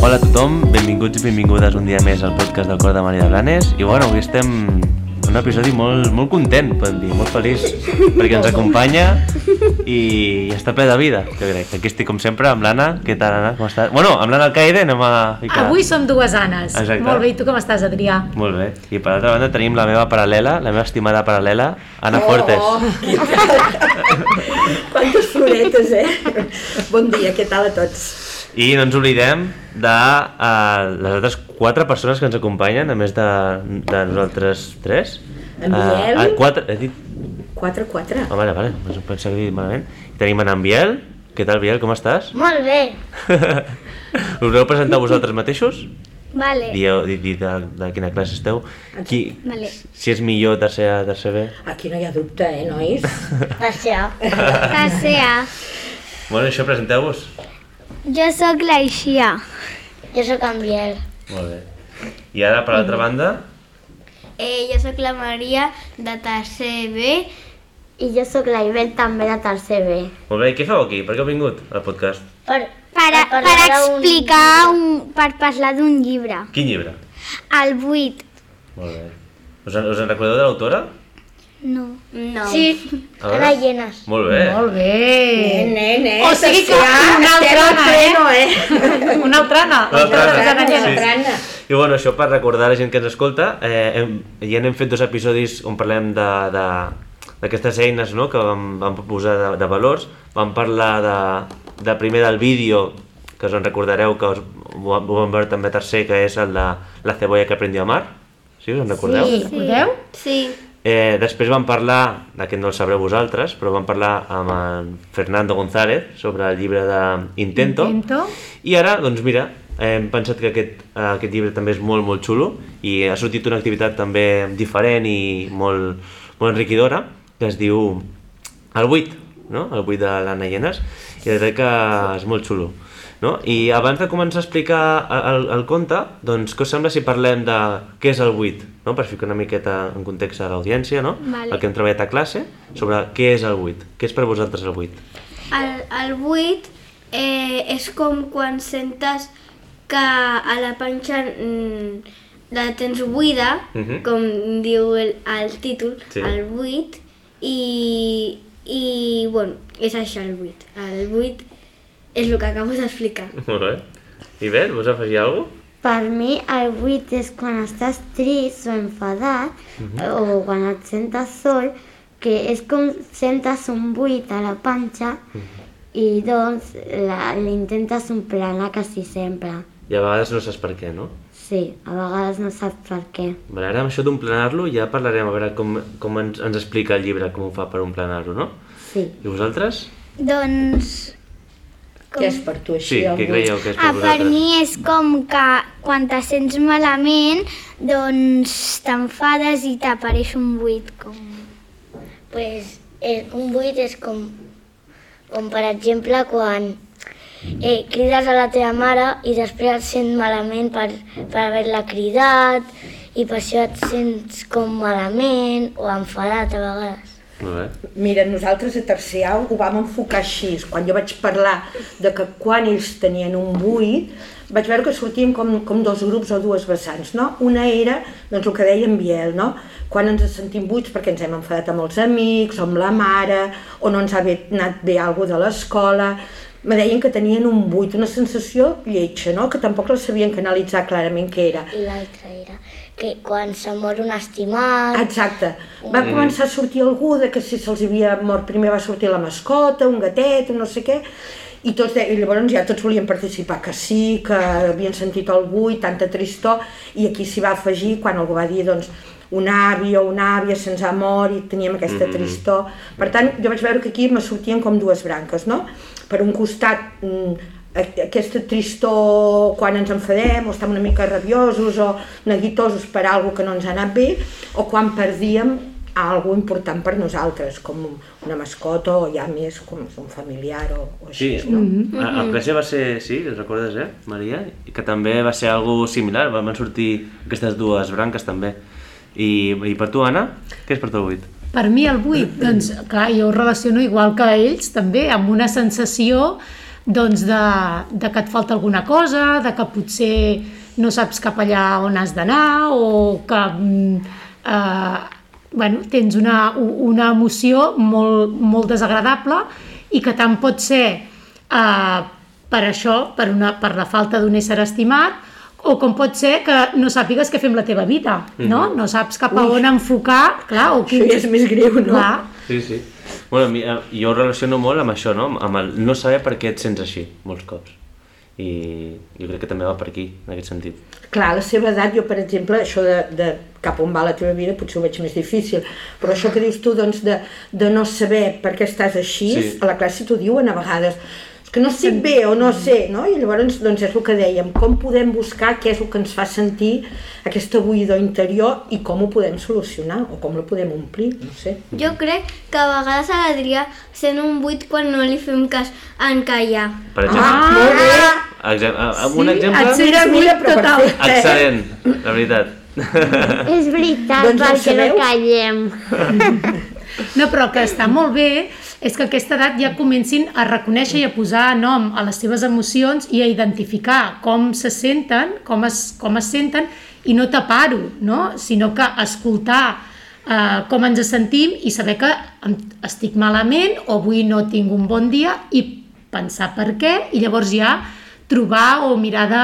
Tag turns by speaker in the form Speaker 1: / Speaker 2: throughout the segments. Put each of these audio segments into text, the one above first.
Speaker 1: Hola a tothom, benvinguts i benvingudes un dia més al podcast del Cor de Maria de Blanes i bueno, avui estem en un episodi molt, molt content, podem dir, molt feliç perquè ens acompanya i, i està ple de vida, jo crec. Aquí estic com sempre amb l'Anna, què tal Anna, com estàs? Bueno, amb l'Anna Alcaide anem a ficar...
Speaker 2: Avui som dues Anes.
Speaker 1: Exacte.
Speaker 2: Molt bé, i tu com estàs, Adrià?
Speaker 1: Molt bé. I per altra banda tenim la meva paral·lela, la meva estimada paral·lela, Anna Fortes.
Speaker 3: Quantes floretes, eh? Bon dia, què tal a tots?
Speaker 1: I no ens oblidem de uh, les altres quatre persones que ens acompanyen, a més de, de nosaltres tres.
Speaker 3: En Biel.
Speaker 1: ah, quatre, he dit...
Speaker 3: 4, 4.
Speaker 1: Ah, vale, vale, no pensava que he dit malament. I tenim en, en Biel. Què tal, Biel, com estàs?
Speaker 4: Molt bé,
Speaker 1: Us voleu presentar vosaltres mateixos?
Speaker 3: Eh.
Speaker 4: vale.
Speaker 1: Dieu, di, di, de, de quina classe esteu? Qui,
Speaker 4: Vale.
Speaker 1: Si és millor tercer A, tercer B?
Speaker 3: Aquí no hi ha dubte, eh, nois?
Speaker 4: Passea. Passea.
Speaker 1: Bueno, això, presenteu-vos.
Speaker 4: Jo sóc la Ixia. Jo sóc en Biel.
Speaker 1: Molt bé. I ara, per
Speaker 3: Mm.
Speaker 1: l'altra banda,
Speaker 4: Eh, jo sóc la Maria, de tercer B. I jo sóc la Ibel, també de tercer B.
Speaker 1: molt bé, què feu aquí? Per què heu vingut al podcast?
Speaker 4: Per, per, per, per explicar, un... per parlar d'un llibre.
Speaker 1: Quin llibre?
Speaker 4: El 8.
Speaker 1: Molt bé. Us en, us en recordeu de l'autora?
Speaker 4: No. No. Sí.
Speaker 1: A veure.
Speaker 4: Llenes.
Speaker 1: Molt bé.
Speaker 2: Molt bé.
Speaker 3: Nen, eh?
Speaker 2: O sigui que
Speaker 3: Sacià,
Speaker 2: una altra
Speaker 3: estem al
Speaker 2: Anna,
Speaker 3: pleno, eh?
Speaker 2: Una altra Anna.
Speaker 1: Una altra
Speaker 2: Una altra
Speaker 1: Anna,
Speaker 2: Anna.
Speaker 1: sí.
Speaker 3: Anna.
Speaker 1: I bueno, això per recordar a la gent que ens escolta, eh, hem, ja n'hem fet dos episodis on parlem de, de d'aquestes eines no? que vam, vam posar de, de valors. Vam parlar de, de primer del vídeo, que us en recordareu que us, ho, ho vam veure també tercer, que és el de la cebolla que aprendió a mar. Sí, us en recordeu?
Speaker 2: Sí. Recordeu?
Speaker 4: Sí.
Speaker 1: Eh, després vam parlar, d'aquest no el sabreu vosaltres, però vam parlar amb en Fernando González sobre el llibre de Intento.
Speaker 2: Intento.
Speaker 1: I ara, doncs mira, hem pensat que aquest, eh, aquest llibre també és molt, molt xulo i ha sortit una activitat també diferent i molt, molt enriquidora que es diu El 8, no? El 8 de l'Anna Llenes i crec que és molt xulo. No? I abans de començar a explicar el, el conte, doncs què us sembla si parlem de què és el 8, no? per ficar una miqueta en context a l'audiència, no?
Speaker 4: Vale.
Speaker 1: el que hem treballat a classe, sobre què és el 8, què és per vosaltres el 8.
Speaker 5: El, el 8 eh, és com quan sentes que a la panxa mm, la tens buida,
Speaker 1: Mhm.
Speaker 5: com diu el, el títol,
Speaker 1: Sí.
Speaker 5: el 8, i, i bueno, és això el 8. El 8 és el que acabo d'explicar.
Speaker 1: Molt bé. I bé, vols afegir alguna cosa?
Speaker 6: Per mi el 8 és quan estàs trist o enfadat
Speaker 1: Mhm.
Speaker 6: o quan et sentes sol, que és com sentes un buit a la panxa
Speaker 1: Mhm.
Speaker 6: i doncs la- l'intentes emplenar quasi eh, sempre.
Speaker 1: I a vegades no saps per què, no?
Speaker 6: Sí, a vegades no saps per què.
Speaker 1: Vale, ara amb això d'omplenar-lo ja parlarem a veure com, com ens, ens explica el llibre com ho fa per omplenar-lo, no?
Speaker 6: Sí.
Speaker 1: I vosaltres?
Speaker 4: Doncs
Speaker 3: Què és per tu
Speaker 1: Sí,
Speaker 3: així? el
Speaker 1: què
Speaker 3: vuit?
Speaker 1: creieu que és per
Speaker 4: Ah, per
Speaker 1: vosaltres?
Speaker 4: mi és com que quan te sents malament, doncs t'enfades i t'apareix un buit. Com...
Speaker 7: Pues eh, un buit és com, com per exemple quan eh, crides a la teva mare i després et sents malament per, per haver-la cridat i per això et sents com malament o enfadat a vegades.
Speaker 1: Molt bé.
Speaker 3: Mira, nosaltres a tercer A ho vam enfocar així. Quan jo vaig parlar de que quan ells tenien un buit, vaig veure que sortien com, com dos grups o dues vessants, no? Una era, doncs, el que deia en Biel, no? Quan ens sentim buits perquè ens hem enfadat amb els amics, o amb la mare, o no ens ha bé, anat bé alguna de l'escola, me deien que tenien un buit, una sensació lletja, no? que tampoc la sabien canalitzar clarament què era.
Speaker 7: I l'altra era que quan se mor un estimat...
Speaker 3: Exacte. Va començar a sortir algú de que si se'ls havia mort primer va sortir la mascota, un gatet, un no sé què, i, tots de... i llavors ja tots volien participar, que sí, que havien sentit algú i tanta tristor, i aquí s'hi va afegir quan algú va dir, doncs, un avi o una àvia se'ns ha mort i teníem aquesta
Speaker 1: Mhm.
Speaker 3: tristor sector. Per tant, jo vaig veure que aquí me sortien com dues branques, no? Per un costat, mm, a- aquesta tristor quan ens enfadem o estem una mica rabiosos o neguitosos per algo que no ens ha anat bé o quan perdíem algo important per nosaltres, com una mascota o ja més com un familiar o, o
Speaker 1: Sí,
Speaker 3: així,
Speaker 1: no?
Speaker 3: no?
Speaker 4: Mm-hmm.
Speaker 1: a, a classe va ser, sí, us recordes, eh, Maria? I Que també va ser algo similar, van van sortir aquestes dues branques també. I, i per tu, Anna, què és per tu el 8?
Speaker 2: Per mi el 8, doncs, clar, jo ho relaciono igual que ells, també, amb una sensació doncs de, de que et falta alguna cosa, de que potser no saps cap allà on has d'anar o que mm, eh, bueno, tens una, u- una emoció molt, molt desagradable i que tant pot ser eh, per això, per, una, per la falta d'un ésser estimat, o com pot ser que no sàpigues què fer amb la teva vida, no? No saps cap a on enfocar, clar, o
Speaker 3: Això ja és més greu, no?
Speaker 2: Clar,
Speaker 1: Sí, sí. Bueno, a mi, eh, jo ho relaciono molt amb això, no? Amb el no saber per què et sents així, molts cops. I jo crec que també va per aquí, en aquest sentit.
Speaker 3: Clar, a la seva edat, jo, per exemple, això de, de cap on va la teva vida potser ho veig més difícil, però això que dius tu, doncs, de, de no saber per què estàs així,
Speaker 1: Sí.
Speaker 3: sí. a la classe t'ho diuen a vegades, és que no estic bé o no sé, no? I llavors, doncs, és el que dèiem, com podem buscar què és el que ens fa sentir aquesta buidor interior i com ho podem solucionar o com la podem omplir, no sé.
Speaker 5: Jo crec que a vegades a l'Adrià sent un buit quan no li fem cas en callar.
Speaker 1: Per exemple,
Speaker 3: molt bé!
Speaker 1: ah, exem ah, un exemple
Speaker 2: et sent-
Speaker 3: Mira, mira,
Speaker 2: Ui,
Speaker 3: però
Speaker 2: total.
Speaker 3: perfecte. eh?
Speaker 1: excel·lent, la veritat.
Speaker 6: És veritat,
Speaker 3: Doncs ja ho
Speaker 6: perquè no
Speaker 3: sabeu.
Speaker 6: callem.
Speaker 2: No, però el que està molt bé és que a aquesta edat ja comencin a reconèixer i a posar nom a les seves emocions i a identificar com se senten, com es, com es senten i no tapar-ho, no? sinó que escoltar eh, com ens sentim i saber que em- estic malament o avui no tinc un bon dia i pensar per què i llavors ja trobar o mirar de,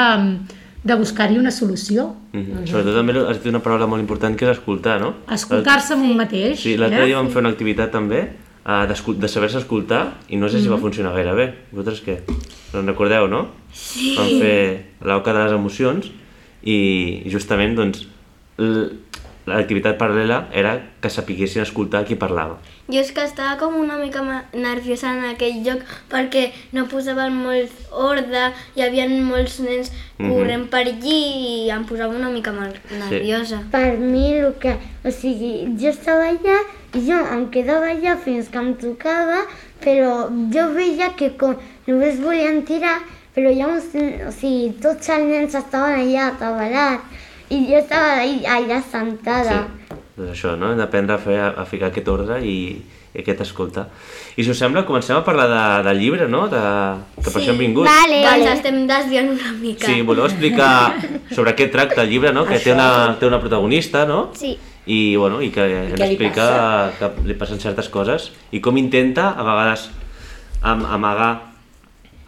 Speaker 2: de buscar-hi una solució.
Speaker 1: Mm -hmm. Sobretot també has dit una paraula molt important que és escoltar, no?
Speaker 2: Escoltar-se amb un mateix.
Speaker 1: Sí, l'altre dia vam fer una activitat també uh, de saber-se escoltar i no sé si va funcionar gaire bé. Vosaltres què? Doncs recordeu, no? Sí. Vam fer l'oca de les emocions i justament doncs l- l'activitat paral·lela era que sapiguessin escoltar qui parlava.
Speaker 5: Jo és que estava com una mica ma- nerviosa en aquell lloc perquè no posaven molt ordre, hi havia molts nens
Speaker 1: Mhm.
Speaker 5: corrent per allí i em posava una mica mal nerviosa.
Speaker 6: Per mi, el que... O sigui, jo estava allà i jo em quedava allà fins que em tocava, però jo veia que com només volien tirar, però hi ha uns... O sigui, tots els nens estaven allà atabalats i jo estava allà, allà sentada.
Speaker 1: Sí, doncs això, no? Hem d'aprendre a, fer, a ficar aquest ordre i, i aquest escolta. I si us sembla, comencem a parlar de, del llibre, no? De, que per això hem vingut.
Speaker 5: Vale. Doncs estem desviant una mica.
Speaker 1: Sí, voleu explicar sobre què tracta el llibre, no? Que té una, té una protagonista, no?
Speaker 4: Sí.
Speaker 1: I, bueno, i que ens
Speaker 3: què li
Speaker 1: explica que li passen certes coses i com intenta, a vegades, am amagar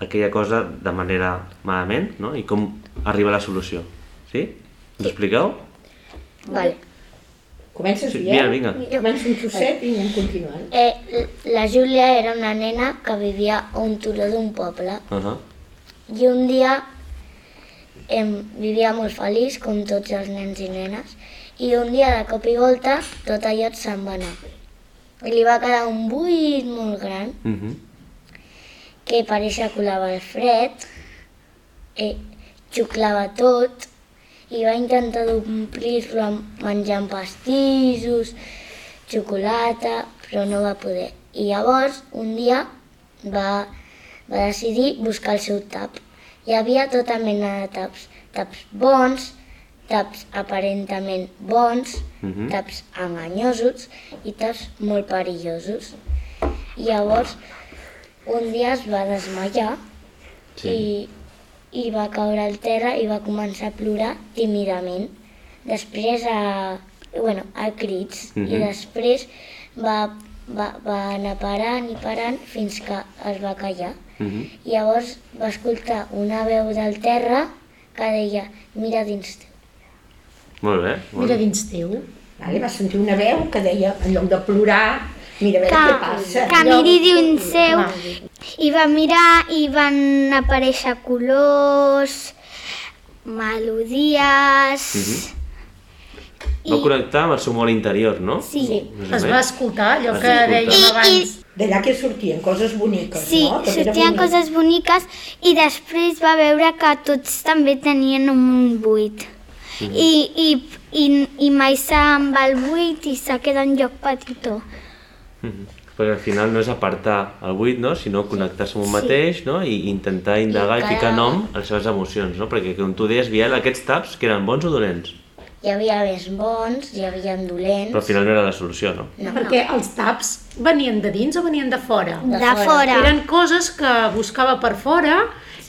Speaker 1: aquella cosa de manera malament, no? I com arriba a la solució. Sí? Ens expliqueu?
Speaker 7: Vale.
Speaker 3: Comences,
Speaker 1: Sí,
Speaker 3: Biel?
Speaker 1: mira, vinga.
Speaker 3: Comença un trosset i anem continuant.
Speaker 7: Eh, la Júlia era una nena que vivia a un turó d'un poble
Speaker 1: Uh -huh.
Speaker 7: i un dia em, vivia molt feliç, com tots els nens i nenes, i un dia de cop i volta tot allò se'n va anar. I li va quedar un buit molt gran
Speaker 1: Uh -huh.
Speaker 7: que per això colava el fred, eh, xuclava tot i va intentar d'omplir-lo amb menjant pastissos, xocolata, però no va poder. I llavors, un dia, va, va decidir buscar el seu tap. Hi havia tota mena de taps. Taps bons, taps aparentament bons,
Speaker 1: Mhm.
Speaker 7: taps enganyosos i taps molt perillosos. I llavors, un dia es va desmaiar sí. i, i va caure al terra i va començar a plorar tímidament. Després a, bueno, a crits mm -hmm.
Speaker 1: Mhm.
Speaker 7: i després va, va, va anar parant i parant fins que es va callar.
Speaker 1: Uh -huh.
Speaker 7: Llavors va escoltar una veu del terra que deia mira dins teu.
Speaker 1: Molt bé. Molt
Speaker 2: Mira
Speaker 1: bé.
Speaker 2: dins teu.
Speaker 3: Vale, va sentir una veu que deia, en lloc de plorar, mira a veure què passa.
Speaker 4: que miri dins seu i va mirar i van aparèixer colors, melodies...
Speaker 1: Va connectar amb el seu món interior, no?
Speaker 4: Sí.
Speaker 1: Més o
Speaker 2: Es va
Speaker 1: menys.
Speaker 2: escoltar allò
Speaker 1: Es
Speaker 2: que
Speaker 1: escolta.
Speaker 2: dèiem
Speaker 4: I-
Speaker 2: abans.
Speaker 3: D'allà que sortien coses boniques,
Speaker 4: Sí,
Speaker 3: no? També era
Speaker 4: sortien
Speaker 3: bonic.
Speaker 4: coses boniques i després va veure que tots també tenien un buit. I, i, i, i mai se'n va el buit i se queda en lloc petitó.
Speaker 1: Mhm. Perquè al final no és apartar el buit, no? sinó connectar-se amb un mateix no? I intentar indagar i,
Speaker 7: cada-
Speaker 1: ficar nom a les seves emocions, no? perquè com tu deies, Biel, aquests taps que eren bons o dolents?
Speaker 7: hi havia més bons, hi havia dolents.
Speaker 1: Però al final no era la solució, no?
Speaker 7: No, no.
Speaker 2: Perquè els taps venien de dins o venien de fora?
Speaker 7: De,
Speaker 4: De fora.
Speaker 2: Eren coses que buscava per fora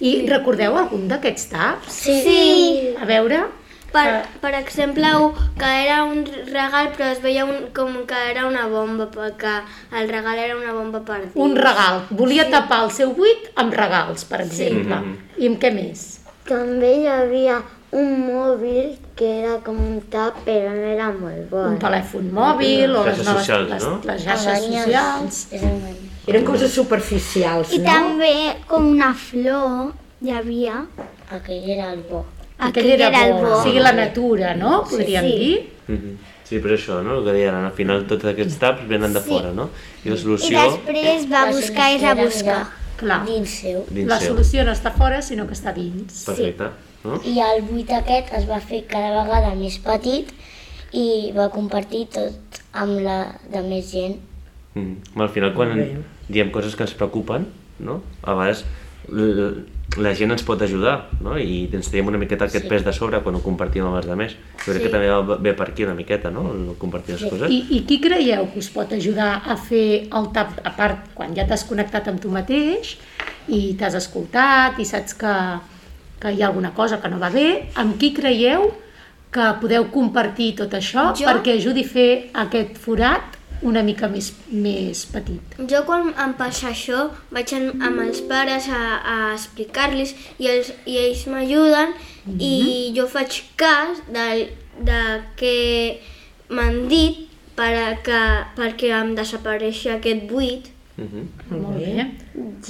Speaker 2: i recordeu algun d'aquests taps?
Speaker 7: Sí.
Speaker 5: Sí.
Speaker 2: A veure,
Speaker 5: Per, per exemple, u- que era un regal però es veia un, com que era una bomba, perquè el regal era una bomba per dins.
Speaker 2: un regal. Volia tapar el seu buit amb regals, per exemple.
Speaker 1: Mm-hmm.
Speaker 2: I amb què més?
Speaker 6: També hi havia un mòbil que era com un tap, però no era molt bo.
Speaker 2: Un telèfon mòbil o les,
Speaker 1: Xarxes
Speaker 2: noves,
Speaker 1: socials,
Speaker 2: les,
Speaker 1: no?
Speaker 2: les xarxes socials.
Speaker 3: Eren coses superficials,
Speaker 4: I
Speaker 3: no?
Speaker 4: també com una flor hi havia.
Speaker 7: Aquell era el bo.
Speaker 2: Aquell era, era bo. O sigui, la natura, no? Podríem
Speaker 7: sí.
Speaker 2: dir.
Speaker 1: Mhm. Sí, però això, no? El que deien, al final tots aquests taps venen de fora, no? I la
Speaker 4: I
Speaker 1: solució
Speaker 4: després va
Speaker 7: La
Speaker 4: buscar i
Speaker 7: solució era
Speaker 4: rebuscar.
Speaker 2: Clar,
Speaker 7: mirar Dins seu.
Speaker 1: dins
Speaker 2: la
Speaker 1: seu.
Speaker 2: solució no està fora, sinó que està dins.
Speaker 1: Perfecte, no?
Speaker 7: I el buit aquest es va fer cada vegada més petit i va compartir tot amb la de més gent.
Speaker 1: Mm. Al final, quan diem coses que ens preocupen, no? a vegades l- la gent ens pot ajudar no? i ens traiem una miqueta aquest sí. pes de sobre quan ho compartim amb els altres. Jo crec sí. que també va- ve per aquí una miqueta, no? El compartir les sí. coses.
Speaker 2: I, I qui creieu que us pot ajudar a fer el tap, a part, quan ja t'has connectat amb tu mateix i t'has escoltat i saps que, que hi ha alguna cosa que no va bé, amb qui creieu que podeu compartir tot això
Speaker 5: Jo?
Speaker 2: perquè ajudi a fer aquest forat una mica més, més petit?
Speaker 5: Jo quan em passa això vaig amb, amb els pares a, a explicar-los i, els, i ells m'ajuden i
Speaker 1: Mhm.
Speaker 5: jo faig cas del, de que m'han dit per a que, perquè em desapareixi aquest buit.
Speaker 1: Mhm.
Speaker 2: Molt bé.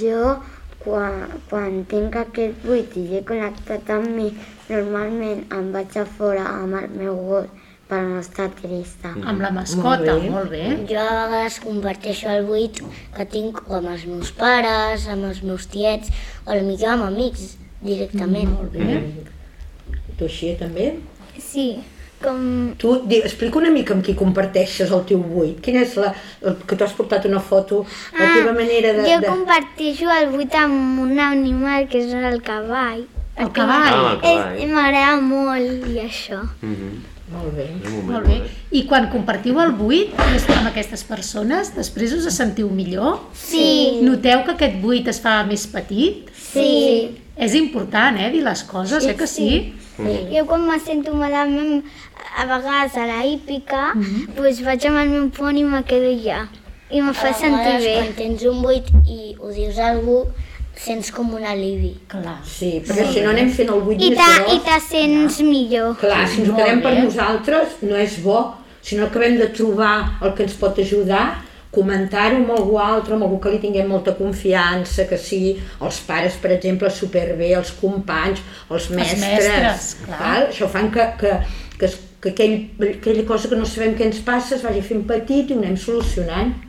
Speaker 6: Jo, quan, quan tinc aquest buit i he connectat amb mi, normalment em vaig a fora amb el meu gos per no estar trista.
Speaker 2: Amb la mascota,
Speaker 3: Molt bé.
Speaker 2: molt bé.
Speaker 7: Jo a vegades comparteixo el buit que tinc o amb els meus pares, amb els meus tiets, o potser amb amics
Speaker 6: Mm,
Speaker 7: directament.
Speaker 2: Molt bé.
Speaker 3: Tu així també?
Speaker 4: Sí, com
Speaker 3: Tu di, explica una mica amb qui comparteixes el teu buit. Quina és la... El, que t'has portat una foto, la teva manera de...
Speaker 4: Ah, Jo
Speaker 3: de...
Speaker 4: comparteixo el buit amb un animal que és el cavall.
Speaker 2: El cavall.
Speaker 1: Ah, el
Speaker 4: És-
Speaker 1: cavall.
Speaker 4: M'agrada molt i això.
Speaker 1: Mhm.
Speaker 3: Molt bé.
Speaker 1: És un moment,
Speaker 2: Molt bé.
Speaker 1: molt bé.
Speaker 2: I quan compartiu el buit des- amb aquestes persones, després us sentiu millor?
Speaker 4: Sí.
Speaker 2: Noteu que aquest buit es fa més petit?
Speaker 4: Sí.
Speaker 2: És important, eh, dir les coses, eh, que sí?
Speaker 1: Mhm.
Speaker 4: Jo quan me sento malament, a vegades a la hípica,
Speaker 5: Mhm.
Speaker 4: doncs vaig amb el meu pont i me quedo allà. I me
Speaker 5: Ah,
Speaker 4: fa
Speaker 7: A
Speaker 4: sentir
Speaker 7: vegades,
Speaker 4: bé.
Speaker 7: Quan tens un buit i ho dius a algú, sents com un alivi.
Speaker 2: Clar.
Speaker 3: Sí, perquè si no anem fent el buit
Speaker 4: I
Speaker 3: més
Speaker 4: te, i
Speaker 3: gros.
Speaker 4: te sents millor.
Speaker 3: Clar, si ens ho
Speaker 2: Molt
Speaker 3: quedem per
Speaker 2: bé.
Speaker 3: nosaltres no és bo, si no acabem de trobar el que ens pot ajudar, comentar-ho amb algú altre, amb algú que li tinguem molta confiança, que sigui els pares, per exemple, superbé, els companys, els mestres.
Speaker 2: mestres, clar.
Speaker 3: val? Això fan que, que, que, es- que aquell, aquella cosa que no sabem què ens passa es vagi fent petit i ho anem solucionant.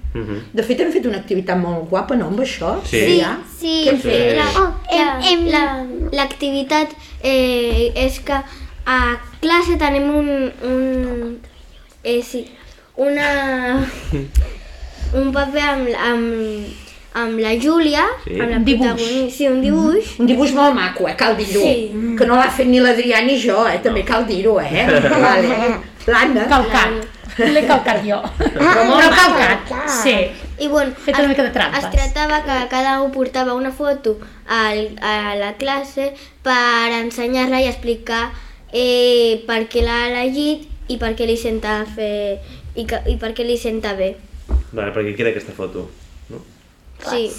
Speaker 3: De fet, hem fet una activitat molt guapa, no, amb això?
Speaker 1: Sí.
Speaker 3: ja?
Speaker 5: Sí,
Speaker 3: Què hem fet?
Speaker 1: Sí.
Speaker 7: Oh,
Speaker 5: la-
Speaker 4: Em- em-
Speaker 5: la- l'activitat eh, és que a classe tenim un... un eh, sí, una, un paper amb, amb, amb la Júlia,
Speaker 1: Sí.
Speaker 5: amb la
Speaker 2: Un dibuix.
Speaker 5: protagonista, sí, un dibuix,
Speaker 3: Un dibuix molt maco, eh? cal dir-ho.
Speaker 5: Sí.
Speaker 3: Que no l'ha fet ni l'Adrià ni jo, eh? també cal dir-ho. Eh? Vale. L'Anna.
Speaker 2: Calcat. L'he calcat jo. Però molt calcat. Sí.
Speaker 5: I bueno,
Speaker 2: Fet una mica de trampes.
Speaker 5: es tractava que cada un portava una foto al, a la classe per ensenyar-la i explicar eh, per què l'ha elegit i per què li senta fer i, que, i per què li senta bé.
Speaker 1: Vale, perquè queda aquesta foto. No?
Speaker 5: Sí.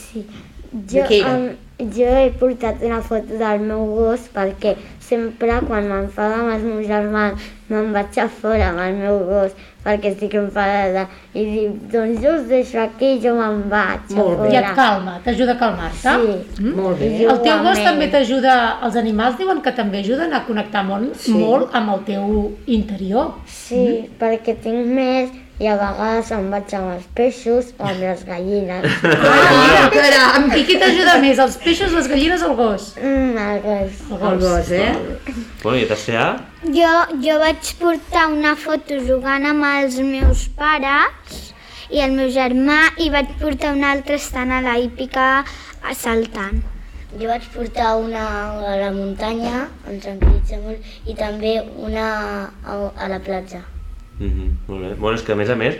Speaker 6: Jo,
Speaker 3: Qui era?
Speaker 6: em- jo he portat una foto del meu gos perquè sempre quan m'enfada amb els meus germans me'n vaig a fora amb el meu gos perquè estic enfadada i dic, doncs jo us deixo aquí i jo me'n vaig
Speaker 3: Molt
Speaker 6: a
Speaker 3: bé.
Speaker 2: I et
Speaker 6: fora.
Speaker 2: calma, t'ajuda a calmar-te?
Speaker 6: Sí.
Speaker 2: Mm?
Speaker 3: Molt bé.
Speaker 2: El teu gos
Speaker 6: Igualment.
Speaker 2: també t'ajuda, els animals diuen que també ajuden a connectar molt,
Speaker 3: Sí.
Speaker 2: molt amb el teu interior.
Speaker 6: Sí, perquè tinc més i a vegades em vaig amb els peixos o amb les gallines.
Speaker 3: Ah, caram!
Speaker 2: I qui t'ajuda més, els peixos, les gallines o el gos?
Speaker 6: Mm, el gos.
Speaker 2: El
Speaker 3: El gos, eh?
Speaker 1: Bueno, i a tercer A,
Speaker 4: Jo, jo vaig portar una foto jugant amb els meus pares i el meu germà i vaig portar una altra estant a la hípica eh, saltant.
Speaker 7: Jo vaig portar una a la muntanya, em tranquil·litza molt, i també una a, a la platja.
Speaker 1: Mm -hmm, molt bé. Bueno, és que a més a més,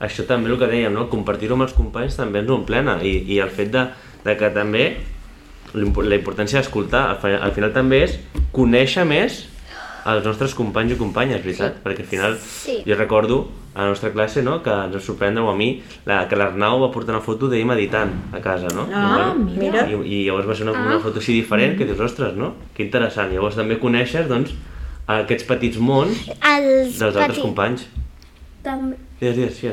Speaker 1: això també el que dèiem, no? compartir-ho amb els companys també ens omplena i, i el fet de, de que també l'impo- la importància d'escoltar, al, fi- al final també és conèixer més els nostres companys i companyes, veritat? Sí. Perquè al final
Speaker 5: Sí.
Speaker 1: jo recordo a la nostra classe no? que ens va sorprendre, o a mi, la, que l'Arnau va portar una foto d'ell meditant a casa, no?
Speaker 2: Ah,
Speaker 1: I,
Speaker 2: mira.
Speaker 1: I, I llavors va ser una, una foto així diferent que dius, ostres, no? Que interessant. Llavors també coneixes, doncs, aquests petits mons
Speaker 4: Els
Speaker 1: dels altres
Speaker 4: peti-
Speaker 1: companys.
Speaker 5: També.
Speaker 1: Digues, digues, sí.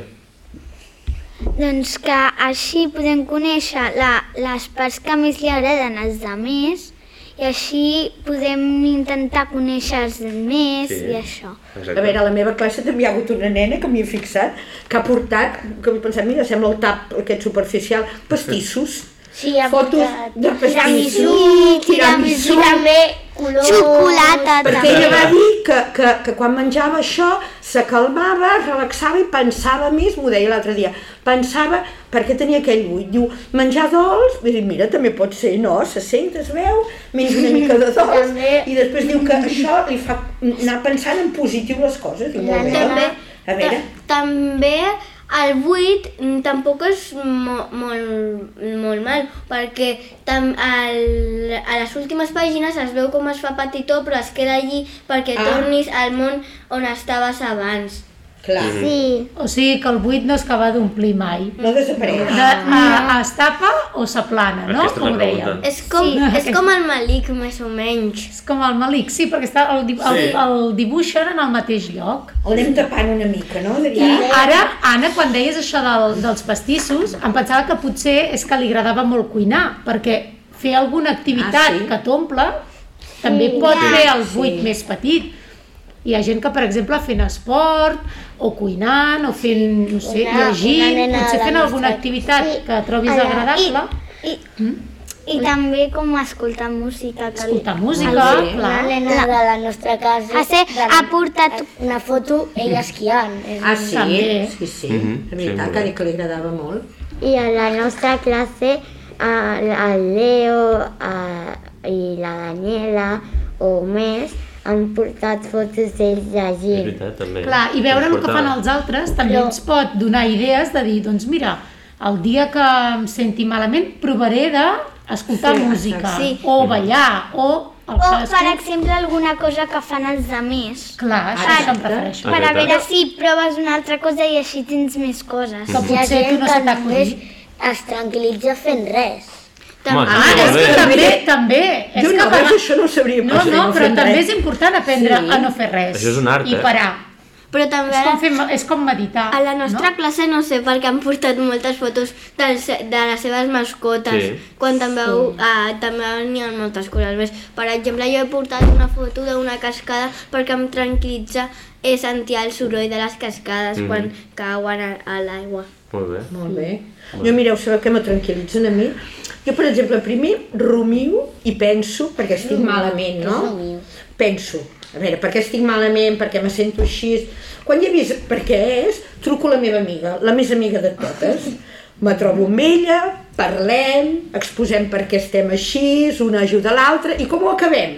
Speaker 4: Doncs que així podem conèixer la, les parts que més li agraden als altres i així podem intentar conèixer-los més
Speaker 1: Sí.
Speaker 4: sí. i això.
Speaker 1: Exacte.
Speaker 3: A veure, a la meva classe també hi ha hagut una nena que m'hi he fixat, que ha portat, que he pensat, mira, sembla el tap aquest superficial, pastissos.
Speaker 7: Sí, ha
Speaker 3: Fotos
Speaker 7: portat
Speaker 3: de
Speaker 7: tiramisú,
Speaker 3: pastissos,
Speaker 7: tiramisú,
Speaker 3: tiramisú,
Speaker 7: també colors...
Speaker 4: Xocolata,
Speaker 3: perquè ella va dir que, que, que quan menjava això s'acalmava, es relaxava i pensava més, m'ho deia l'altre dia, pensava per què tenia aquell buit. Diu, menjar dolç, vull dir, mira, també pot ser, no? Se sent, es veu, menja una mica de dolç
Speaker 7: També.
Speaker 3: i després diu que això li fa anar pensant en positiu les coses. Diu, molt bé, eh?
Speaker 5: També,
Speaker 3: a veure,
Speaker 5: ta- també el 8 mm, tampoc és mo, molt, molt mal, perquè tam, al, a les últimes pàgines es veu com es fa petitó, però es queda allí perquè
Speaker 3: Ah.
Speaker 5: tornis al món on estaves abans.
Speaker 3: clar,
Speaker 4: Sí.
Speaker 2: O sigui que el buit no es que va d'omplir mai.
Speaker 3: no desapareix.
Speaker 2: De, ah. es tapa o s'aplana,
Speaker 1: Aquesta
Speaker 2: no?
Speaker 1: és la
Speaker 2: Com ho
Speaker 1: pregunta.
Speaker 2: dèiem.
Speaker 5: És com,
Speaker 2: Sí.
Speaker 5: és com el malic, més o menys.
Speaker 2: És com el malic, sí, perquè està el, di- el,
Speaker 1: Sí.
Speaker 2: el dibuixen en el mateix lloc.
Speaker 3: El anem tapant una mica, no,
Speaker 2: I
Speaker 3: Adrià?
Speaker 2: ara, Anna, quan deies això del, dels pastissos, em pensava que potser és que li agradava molt cuinar, perquè fer alguna activitat
Speaker 3: Ah,
Speaker 2: ah,
Speaker 3: sí?
Speaker 2: sí? que t'omple també pot
Speaker 1: Ja,
Speaker 2: fer
Speaker 7: Ah,
Speaker 2: el buit
Speaker 3: sí.
Speaker 2: sí. més petit. Hi ha gent que, per exemple, fent esport, o cuinant, o fent, no sé,
Speaker 7: Una- una
Speaker 2: llegint,
Speaker 7: nena
Speaker 2: potser
Speaker 7: de
Speaker 2: fent
Speaker 7: la
Speaker 2: alguna
Speaker 7: nostra-
Speaker 2: activitat
Speaker 7: sí.
Speaker 2: que trobis
Speaker 7: Ara,
Speaker 2: agradable,
Speaker 4: I,
Speaker 6: Mm?
Speaker 4: i també com escoltar música. Que li...
Speaker 2: escoltar música,
Speaker 3: Molt bé.
Speaker 2: clar.
Speaker 7: Una nena de la nostra casa...
Speaker 6: Ah,
Speaker 4: Ha, ser,
Speaker 7: de la- eh,
Speaker 4: ha portat
Speaker 7: Una foto, ella esquiant. És
Speaker 3: Ah, sí?
Speaker 2: També.
Speaker 3: Sí, sí.
Speaker 1: Mhm,
Speaker 3: La
Speaker 1: sí,
Speaker 3: veritat,
Speaker 1: molt
Speaker 3: que,
Speaker 1: bé.
Speaker 3: li- que li agradava molt.
Speaker 6: I a la nostra classe, a- el Leo a, i la Daniela o més han portat fotos d'ells
Speaker 1: És
Speaker 6: llegint.
Speaker 1: veritat, també.
Speaker 2: Clar, i veure el que
Speaker 1: Important.
Speaker 2: fan els altres també ens pot donar idees de dir, doncs mira, el dia que em senti malament provaré d'escoltar
Speaker 3: Sí,
Speaker 2: sí, música,
Speaker 3: sí.
Speaker 2: o ballar, o el
Speaker 4: o,
Speaker 2: que
Speaker 4: per
Speaker 2: escolti.
Speaker 4: exemple, alguna cosa que fan els altres.
Speaker 2: Clar, això és el que em refereixo.
Speaker 4: Per a
Speaker 1: Exacte.
Speaker 4: veure si proves una altra cosa i així tens més coses.
Speaker 2: Que
Speaker 7: Hi ha
Speaker 2: potser tu
Speaker 7: gent
Speaker 2: no
Speaker 7: que
Speaker 2: se t'ha
Speaker 7: només
Speaker 2: acudit.
Speaker 7: es tranquil·litza fent res.
Speaker 1: Home,
Speaker 2: Ah,
Speaker 1: això
Speaker 2: és
Speaker 1: molt
Speaker 2: que
Speaker 1: bé.
Speaker 2: també, també. És
Speaker 3: Jo
Speaker 2: que
Speaker 3: no,
Speaker 2: per-
Speaker 3: veus, això no ho sabria.
Speaker 2: no,
Speaker 3: potser
Speaker 2: no, però
Speaker 3: fem
Speaker 2: també
Speaker 3: res.
Speaker 2: és important aprendre
Speaker 3: Sí.
Speaker 2: a no fer res.
Speaker 1: Això és un art,
Speaker 2: I
Speaker 1: eh?
Speaker 2: parar.
Speaker 5: Però també
Speaker 2: És
Speaker 5: a
Speaker 2: com,
Speaker 5: la,
Speaker 2: fer, és com meditar.
Speaker 5: a la nostra
Speaker 2: No?
Speaker 5: classe no sé perquè han portat moltes fotos del, se- de les seves mascotes.
Speaker 1: Sí.
Speaker 5: Quan també, sí. uh, també n'hi ha moltes coses més. Per exemple, jo he portat una foto d'una cascada perquè em tranquil·litza eh, sentir el soroll de les cascades
Speaker 1: Mhm.
Speaker 5: mm. quan cauen a, a l'aigua.
Speaker 1: Molt bé.
Speaker 3: Molt bé. Jo mireu, sabeu què me tranquil·litzen a mi? Jo, per exemple, primer rumio i penso, perquè estic malament, no? Penso. A veure, per què estic malament, per què me sento així... Quan ja he vist per què és, truco la meva amiga, la més amiga de totes. Me trobo amb ella, parlem, exposem per què estem així, una ajuda l'altra, i com ho acabem?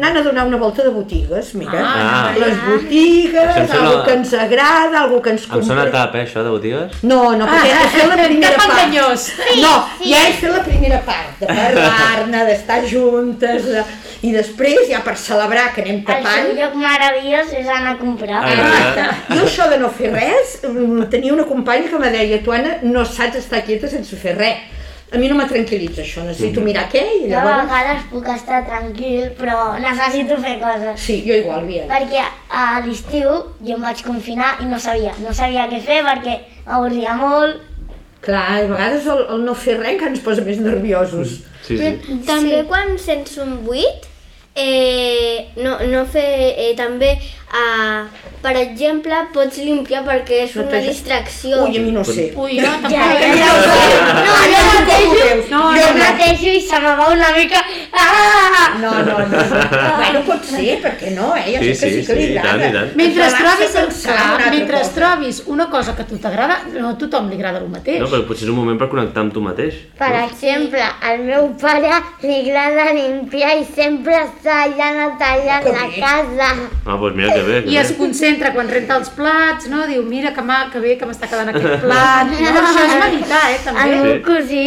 Speaker 3: Anant a donar una volta de botigues, mira.
Speaker 1: Ah.
Speaker 3: les botigues,
Speaker 1: Això em sembla-
Speaker 3: algú que ens agrada, algú que ens
Speaker 1: Em
Speaker 3: compra...
Speaker 1: sona a tap, eh, això de botigues?
Speaker 3: No, no, perquè ah, fer la primera
Speaker 2: cap
Speaker 3: part.
Speaker 2: enganyós.
Speaker 3: no, ja és fer la primera part, de parlar-ne, d'estar juntes, de... i després ja per celebrar que anem
Speaker 7: El seu
Speaker 3: tapant.
Speaker 7: lloc meravellós és anar a comprar.
Speaker 1: Ah,
Speaker 3: Exacte. Jo això de no fer res, mm, tenia una companya que me deia, tu Anna, no saps estar quieta sense fer res. A mi no me tranquil·litza això, necessito mirar què i
Speaker 7: Jo a
Speaker 3: llavors...
Speaker 7: vegades puc estar tranquil, però necessito fer coses.
Speaker 3: Sí, jo igual, Biel.
Speaker 7: Perquè a l'estiu jo em vaig confinar i no sabia, no sabia què fer perquè m'avorria molt.
Speaker 3: Clar, a vegades el, el no fer res encara ens posa més nerviosos.
Speaker 1: Sí, sí.
Speaker 5: També quan sents un buit, eh, no, no fer... Eh, també, eh, per exemple, pots limpiar perquè és
Speaker 3: No
Speaker 5: una
Speaker 3: t'has-
Speaker 5: distracció.
Speaker 3: Ui, a mi no ho sé.
Speaker 2: Ui, jo tampoc.
Speaker 7: ja ho sé. No, jo
Speaker 3: Com ho
Speaker 7: netejo,
Speaker 3: veus?
Speaker 2: No,
Speaker 7: jo
Speaker 2: no, no.
Speaker 7: netejo i se me va una mica
Speaker 3: Ah! No, no, no. no. bueno, pot ser, perquè no, eh? Jo
Speaker 1: Sí,
Speaker 3: sé que
Speaker 1: sí,
Speaker 3: sí que li
Speaker 1: sí, i tant,
Speaker 3: agrada.
Speaker 1: i tant.
Speaker 2: Mentre
Speaker 3: Però abans
Speaker 2: trobis,
Speaker 3: de
Speaker 2: el,
Speaker 3: pensar en una
Speaker 2: clar,
Speaker 3: altra
Speaker 2: mentre
Speaker 3: cosa.
Speaker 2: trobis una cosa que a tu t'agrada, no a tothom li agrada el mateix.
Speaker 1: No, però potser és un moment per connectar amb tu mateix.
Speaker 6: Per exemple, al meu pare li agrada limpiar i sempre està allà tallant la casa.
Speaker 1: Ah, doncs mira que bé. Que
Speaker 2: I
Speaker 1: bé.
Speaker 2: es concentra quan renta els plats, no? Diu, mira que, mà, que bé que m'està quedant aquest plat. No, això és meditar, eh,
Speaker 7: El
Speaker 2: també.
Speaker 7: meu cosí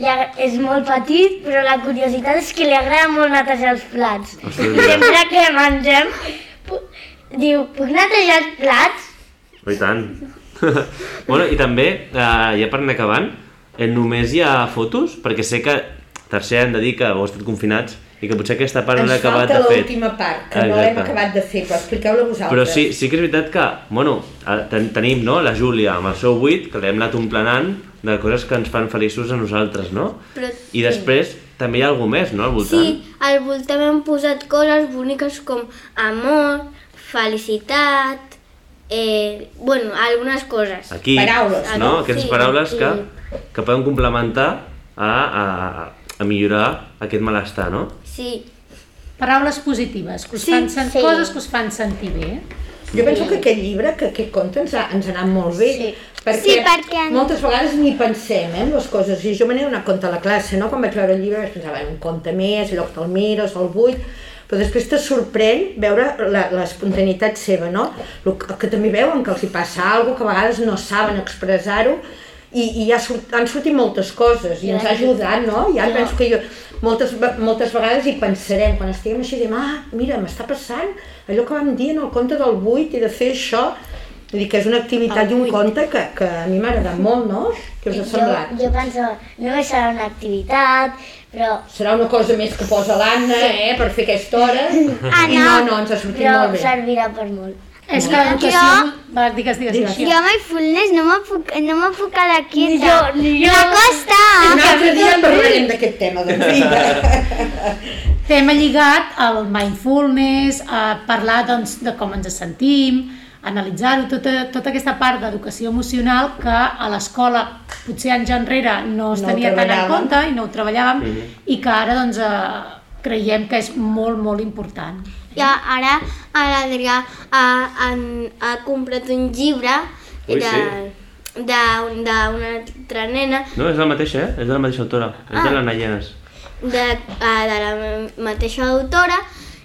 Speaker 7: li agra- és molt petit, però la curiositat és que li agrada molt netejar els plats.
Speaker 1: Ostres,
Speaker 7: I
Speaker 1: mira.
Speaker 7: sempre que mengem, pu- diu, puc netejar els plats?
Speaker 1: Oh, I tant. bueno, i també, eh, ja per anar acabant, eh, només hi ha fotos, perquè sé que tercer han de dir que heu estat confinats i que potser aquesta part no
Speaker 3: Ens
Speaker 1: l'he acabat
Speaker 3: falta
Speaker 1: de fer.
Speaker 3: l'última part, que no l'hem
Speaker 1: Exacte.
Speaker 3: acabat de fer, però expliqueu-la vosaltres.
Speaker 1: Però sí, sí que és veritat que, bueno, eh, ten tenim, no?, la Júlia amb el seu 8, que l'hem anat omplenant de coses que ens fan feliços a nosaltres, no?
Speaker 5: Però-
Speaker 1: I després també hi ha alguna més, no?, al voltant.
Speaker 5: Sí, al voltant hem posat coses boniques com amor, felicitat, eh, bueno, algunes coses.
Speaker 1: Aquí,
Speaker 3: Paraules,
Speaker 1: no?
Speaker 5: no?
Speaker 1: Aquestes
Speaker 5: Sí,
Speaker 1: paraules
Speaker 5: sí.
Speaker 1: que, que poden complementar a, a, a- a millorar aquest malestar, no?
Speaker 5: Sí,
Speaker 2: Paraules positives, que us fan sen-
Speaker 6: sí.
Speaker 2: coses que us fan sentir bé.
Speaker 3: Jo penso que aquest llibre, que aquest conte, ens ha, ens ha anat molt bé. Sí. Perquè,
Speaker 4: Sí, perquè-
Speaker 3: moltes vegades ni pensem eh, en les coses. I jo me n'he donat compte a la classe, no? Quan vaig veure el llibre vaig pensar, bueno, un conte més, allò que te'l mires, el bull... Però després te sorprèn veure la- l'espontaneïtat seva, no? El que, que també veuen que els hi passa alguna que a vegades no saben expressar-ho i, i ha sort, han sortit moltes coses i ens ha ajudat, no? I ara penso que jo moltes, ve- moltes vegades hi pensarem quan estiguem així, diem, ah, mira, m'està passant allò que vam dir en el conte del buit i de fer això, vull dir que és una activitat i un conte que, que a mi m'ha agradat molt, no? Què us ha
Speaker 7: Jo,
Speaker 3: semblat?
Speaker 7: jo penso, només serà una activitat, però...
Speaker 3: Serà una cosa més que posa l'Anna, eh, per fer aquesta hora.
Speaker 7: Ah,
Speaker 3: I no, no, ens ha sortit
Speaker 7: però
Speaker 3: molt bé.
Speaker 7: servirà per molt.
Speaker 2: És que l'educació... Va, digues, digues,
Speaker 3: Digues.
Speaker 2: gràcies.
Speaker 4: Jo amb el fullness no me puc, no me puc quedar quieta.
Speaker 7: jo, ni jo.
Speaker 4: Me costa.
Speaker 3: Un altre dia parlarem d'aquest tema, doncs.
Speaker 2: Tema lligat al mindfulness, a parlar doncs, de com ens sentim, analitzar-ho, tota, tota aquesta part d'educació emocional que a l'escola potser anys enrere no es
Speaker 3: No
Speaker 2: no tenia
Speaker 3: ho
Speaker 2: tant en
Speaker 3: treballàvem.
Speaker 2: compte i no ho treballàvem i que ara doncs, eh, creiem que és molt, molt important.
Speaker 5: i a- ara l'Adrià ha, han- ha comprat un llibre
Speaker 1: Ui,
Speaker 5: de-
Speaker 1: sí.
Speaker 5: d'un- d'una altra nena
Speaker 1: No, és la mateixa, eh? És de la mateixa autora. És
Speaker 5: Ah.
Speaker 1: de la Nayenas.
Speaker 5: de, a- de la me- mateixa autora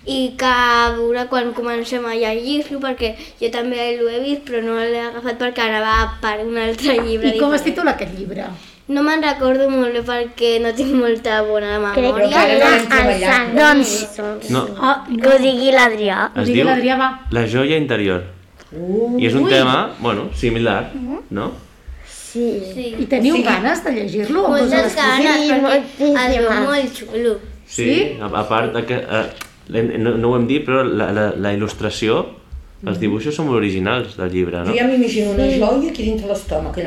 Speaker 5: i que a veure quan comencem a llegir-lo perquè jo també l'ho he vist però no l'he agafat perquè ara va per un altre llibre
Speaker 2: I com es
Speaker 5: diferent.
Speaker 2: titula aquest llibre?
Speaker 5: No me'n recordo molt bé perquè no tinc molta bona
Speaker 6: Crec
Speaker 5: memòria.
Speaker 6: que era
Speaker 3: l'hem
Speaker 6: al
Speaker 3: treballat.
Speaker 6: Sant
Speaker 7: Doncs,
Speaker 1: No,
Speaker 2: Ah,
Speaker 7: que ho digui l'Adrià.
Speaker 2: Ho
Speaker 1: es
Speaker 2: digui
Speaker 1: diu
Speaker 2: l'Adrià, va.
Speaker 1: La joia interior. Uh, I és un tema, bueno, similar, no?
Speaker 6: Sí.
Speaker 2: I teniu sí. ganes de llegir-lo? o us
Speaker 5: Moltes
Speaker 2: les-
Speaker 5: ganes,
Speaker 6: Sí,
Speaker 5: perquè es veu
Speaker 6: moltíssimes.
Speaker 5: molt xulo.
Speaker 1: Sí?
Speaker 2: Sí?
Speaker 1: A, a part de que... eh, l'hem- no, no ho hem dit, però la, la, la il·lustració,
Speaker 2: Mm.
Speaker 1: els dibuixos són molt originals del llibre,
Speaker 3: Jo
Speaker 1: no?
Speaker 3: ja m'imagino una joia aquí dintre l'estómac. allò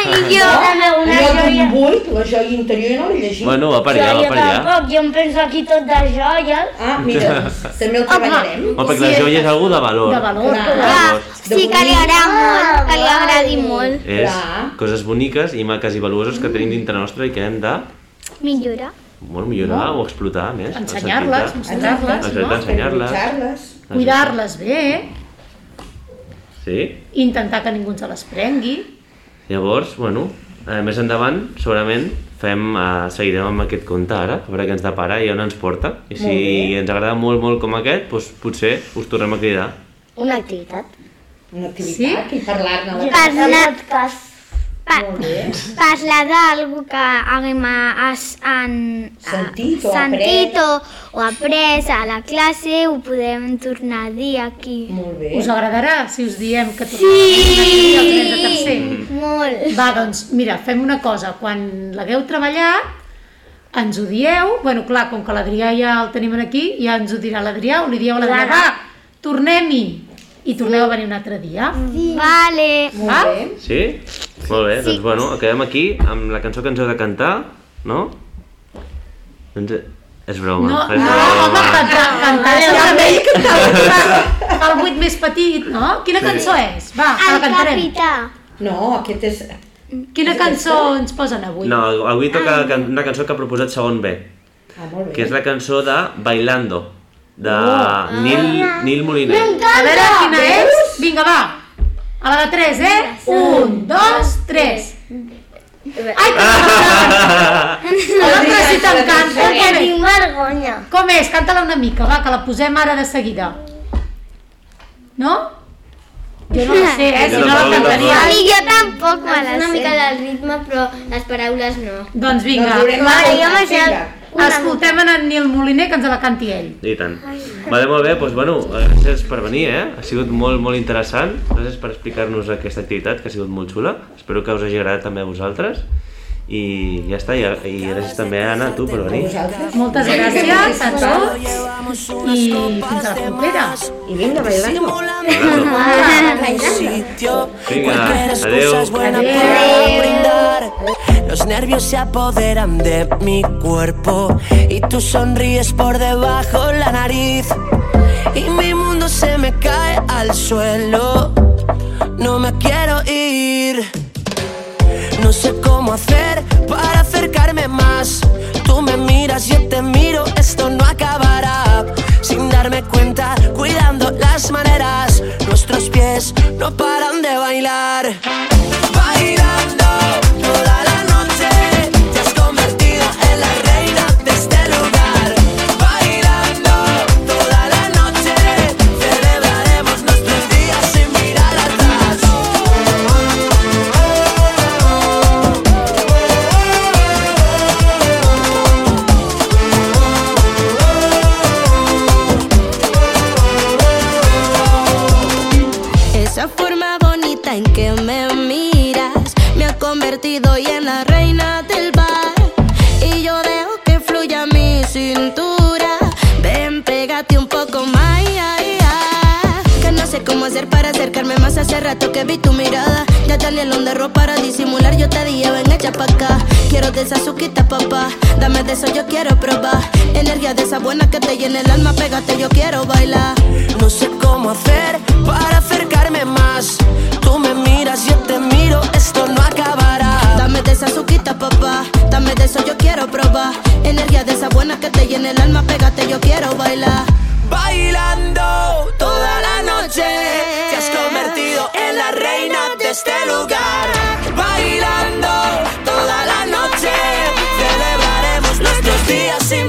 Speaker 3: que-
Speaker 7: I jo també una
Speaker 3: Allò
Speaker 7: joia.
Speaker 3: d'un buit, la joia interior, jo no l'he llegit.
Speaker 1: Bueno, va per allà, va
Speaker 7: Joia
Speaker 1: per allà.
Speaker 7: tampoc, jo em penso aquí tot de joies.
Speaker 3: Ah, mira, doncs, també el treballarem.
Speaker 1: Home, Ah, perquè la joia és algú de valor.
Speaker 2: De valor.
Speaker 3: Clar.
Speaker 2: clar.
Speaker 4: Sí, que li agrada molt, que li agradi
Speaker 2: Ah,
Speaker 4: molt.
Speaker 1: És
Speaker 3: Clar.
Speaker 1: coses boniques i maques i valuoses que tenim dintre nostra i que hem de
Speaker 4: Millora.
Speaker 1: bueno, millorar o explotar més. el
Speaker 2: Ensenyar-les,
Speaker 1: sentit de-
Speaker 2: mostrar-les,
Speaker 1: Exacte,
Speaker 2: no?
Speaker 1: ensenyar-les.
Speaker 3: Utilitzar-les.
Speaker 2: Cuidar-les bé,
Speaker 1: Sí.
Speaker 2: intentar que ningú ens les prengui.
Speaker 1: Llavors, bueno, eh, més endavant, segurament, fem, eh, seguirem amb aquest conte ara, a veure què ens depara i on ens porta. I si ens agrada molt, molt com aquest, doncs potser us tornem a cridar.
Speaker 6: Una activitat.
Speaker 3: Una activitat i parlar-ne. a la-
Speaker 4: Parlar,
Speaker 3: Molt bé.
Speaker 4: parlar d'algú que haguem a- as- en- a-
Speaker 3: Sentit o
Speaker 4: sentit o, o après a la classe, ho podem tornar a dir aquí.
Speaker 3: Molt bé.
Speaker 2: Us agradarà si us diem que sí!
Speaker 1: Mm.
Speaker 4: Molt.
Speaker 2: Va, doncs, mira, fem una cosa. Quan l'hagueu treballat, ens ho dieu. bueno, clar, com que l'Adrià ja el tenim aquí, ja ens ho dirà l'Adrià, o li dieu a l'Adrià, va, tornem-hi! I torneu a venir un altre dia.
Speaker 4: Vale.
Speaker 2: Va?
Speaker 1: Sí? Molt bé, doncs bueno, acabem aquí amb la cançó que ens heu de cantar, no? Doncs eh, és broma,
Speaker 2: No,
Speaker 1: és
Speaker 2: no, home,
Speaker 1: broma.
Speaker 2: cantar, cantar, cantar, el buit més petit, no? Quina cançó és? Va, que la
Speaker 4: El
Speaker 2: Ah, cantarem.
Speaker 4: capità.
Speaker 3: No, aquest és... ah,
Speaker 2: Quina cançó ens posen avui?
Speaker 1: No, avui toca can- una cançó que ha proposat segon B.
Speaker 3: molt bé.
Speaker 1: que és la cançó de Bailando, de
Speaker 2: Oh.
Speaker 1: Nil, Nil Moliner.
Speaker 2: A veure quina és. Vinga, va. A la de 3, eh? 1, 2, 3. Ai,
Speaker 1: Ah.
Speaker 2: que l'altra sí t'encanta. Com és?
Speaker 7: Tinc vergonya.
Speaker 2: Com és? Canta-la una mica, va, que la posem ara de seguida. No? Jo no la sé, eh? Si
Speaker 1: Jo
Speaker 2: no la
Speaker 1: tampoc,
Speaker 2: cantaria.
Speaker 1: tampoc.
Speaker 7: I jo tampoc me la
Speaker 5: Una mica
Speaker 7: sé.
Speaker 5: del ritme, però les paraules no.
Speaker 2: Doncs
Speaker 3: Doncs
Speaker 2: vinga.
Speaker 3: haurem
Speaker 2: va,
Speaker 3: de-
Speaker 7: Jo me sé
Speaker 3: Vinga.
Speaker 2: Escoltem en en Nil Moliner que ens la canti ell.
Speaker 1: I tant. Vale, molt bé, doncs, bueno, gràcies per venir, eh? Ha sigut molt, molt interessant. Gràcies per explicar-nos aquesta activitat, que ha sigut molt xula. Espero que us hagi agradat també a vosaltres. I ja està, i, i gràcies també, Anna, a tu per venir.
Speaker 3: Vosaltres?
Speaker 2: Moltes gràcies a tots i fins a la propera.
Speaker 3: I vinga, bailando.
Speaker 7: Ah,
Speaker 5: Ah,
Speaker 1: Vinga,
Speaker 8: Cosas
Speaker 1: adeu.
Speaker 8: buenas por brindar. Los nervios se apoderan de mi cuerpo y tú sonríes por debajo la nariz y mi mundo se me cae al suelo. No me quiero ir. No sé cómo hacer para acercarme más. Tú me miras, yo te miro, esto no acabará. Sin darme cuenta, cuidando las maneras, nuestros pies no paran de bailar. Bailando toda la noche, te has convertido en la reina de este lugar. Bailando toda la noche, celebraremos nuestros días sin mirar atrás.
Speaker 9: Esa forma bonita en que me miras me ha convertido hoy en la reina del bar. Y yo dejo que fluya mi cintura. Ven, pégate un poco más. ay, ay. Que no sé cómo hacer para acercarme más. Hace rato que vi tu mirada. Ya tenía el underro para disimular. Yo te dije, ven, echa pa' acá. Quiero de esa suquita, papá. Dame de eso, yo quiero probar. Energía de esa buena que te llena el alma. Pégate, yo quiero bailar.
Speaker 8: No sé cómo hacer para acercarme más. Tú me miras, yo te miro, esto no acabará.
Speaker 9: Dame de esa suquita, papá. Dame de eso, yo quiero probar. Energía de esa buena que te llena el alma. Pégate, yo quiero bailar.
Speaker 8: Bailando toda la noche, te has convertido en la reina de este lugar. Bailando toda la noche, celebraremos nuestros días sin este este este este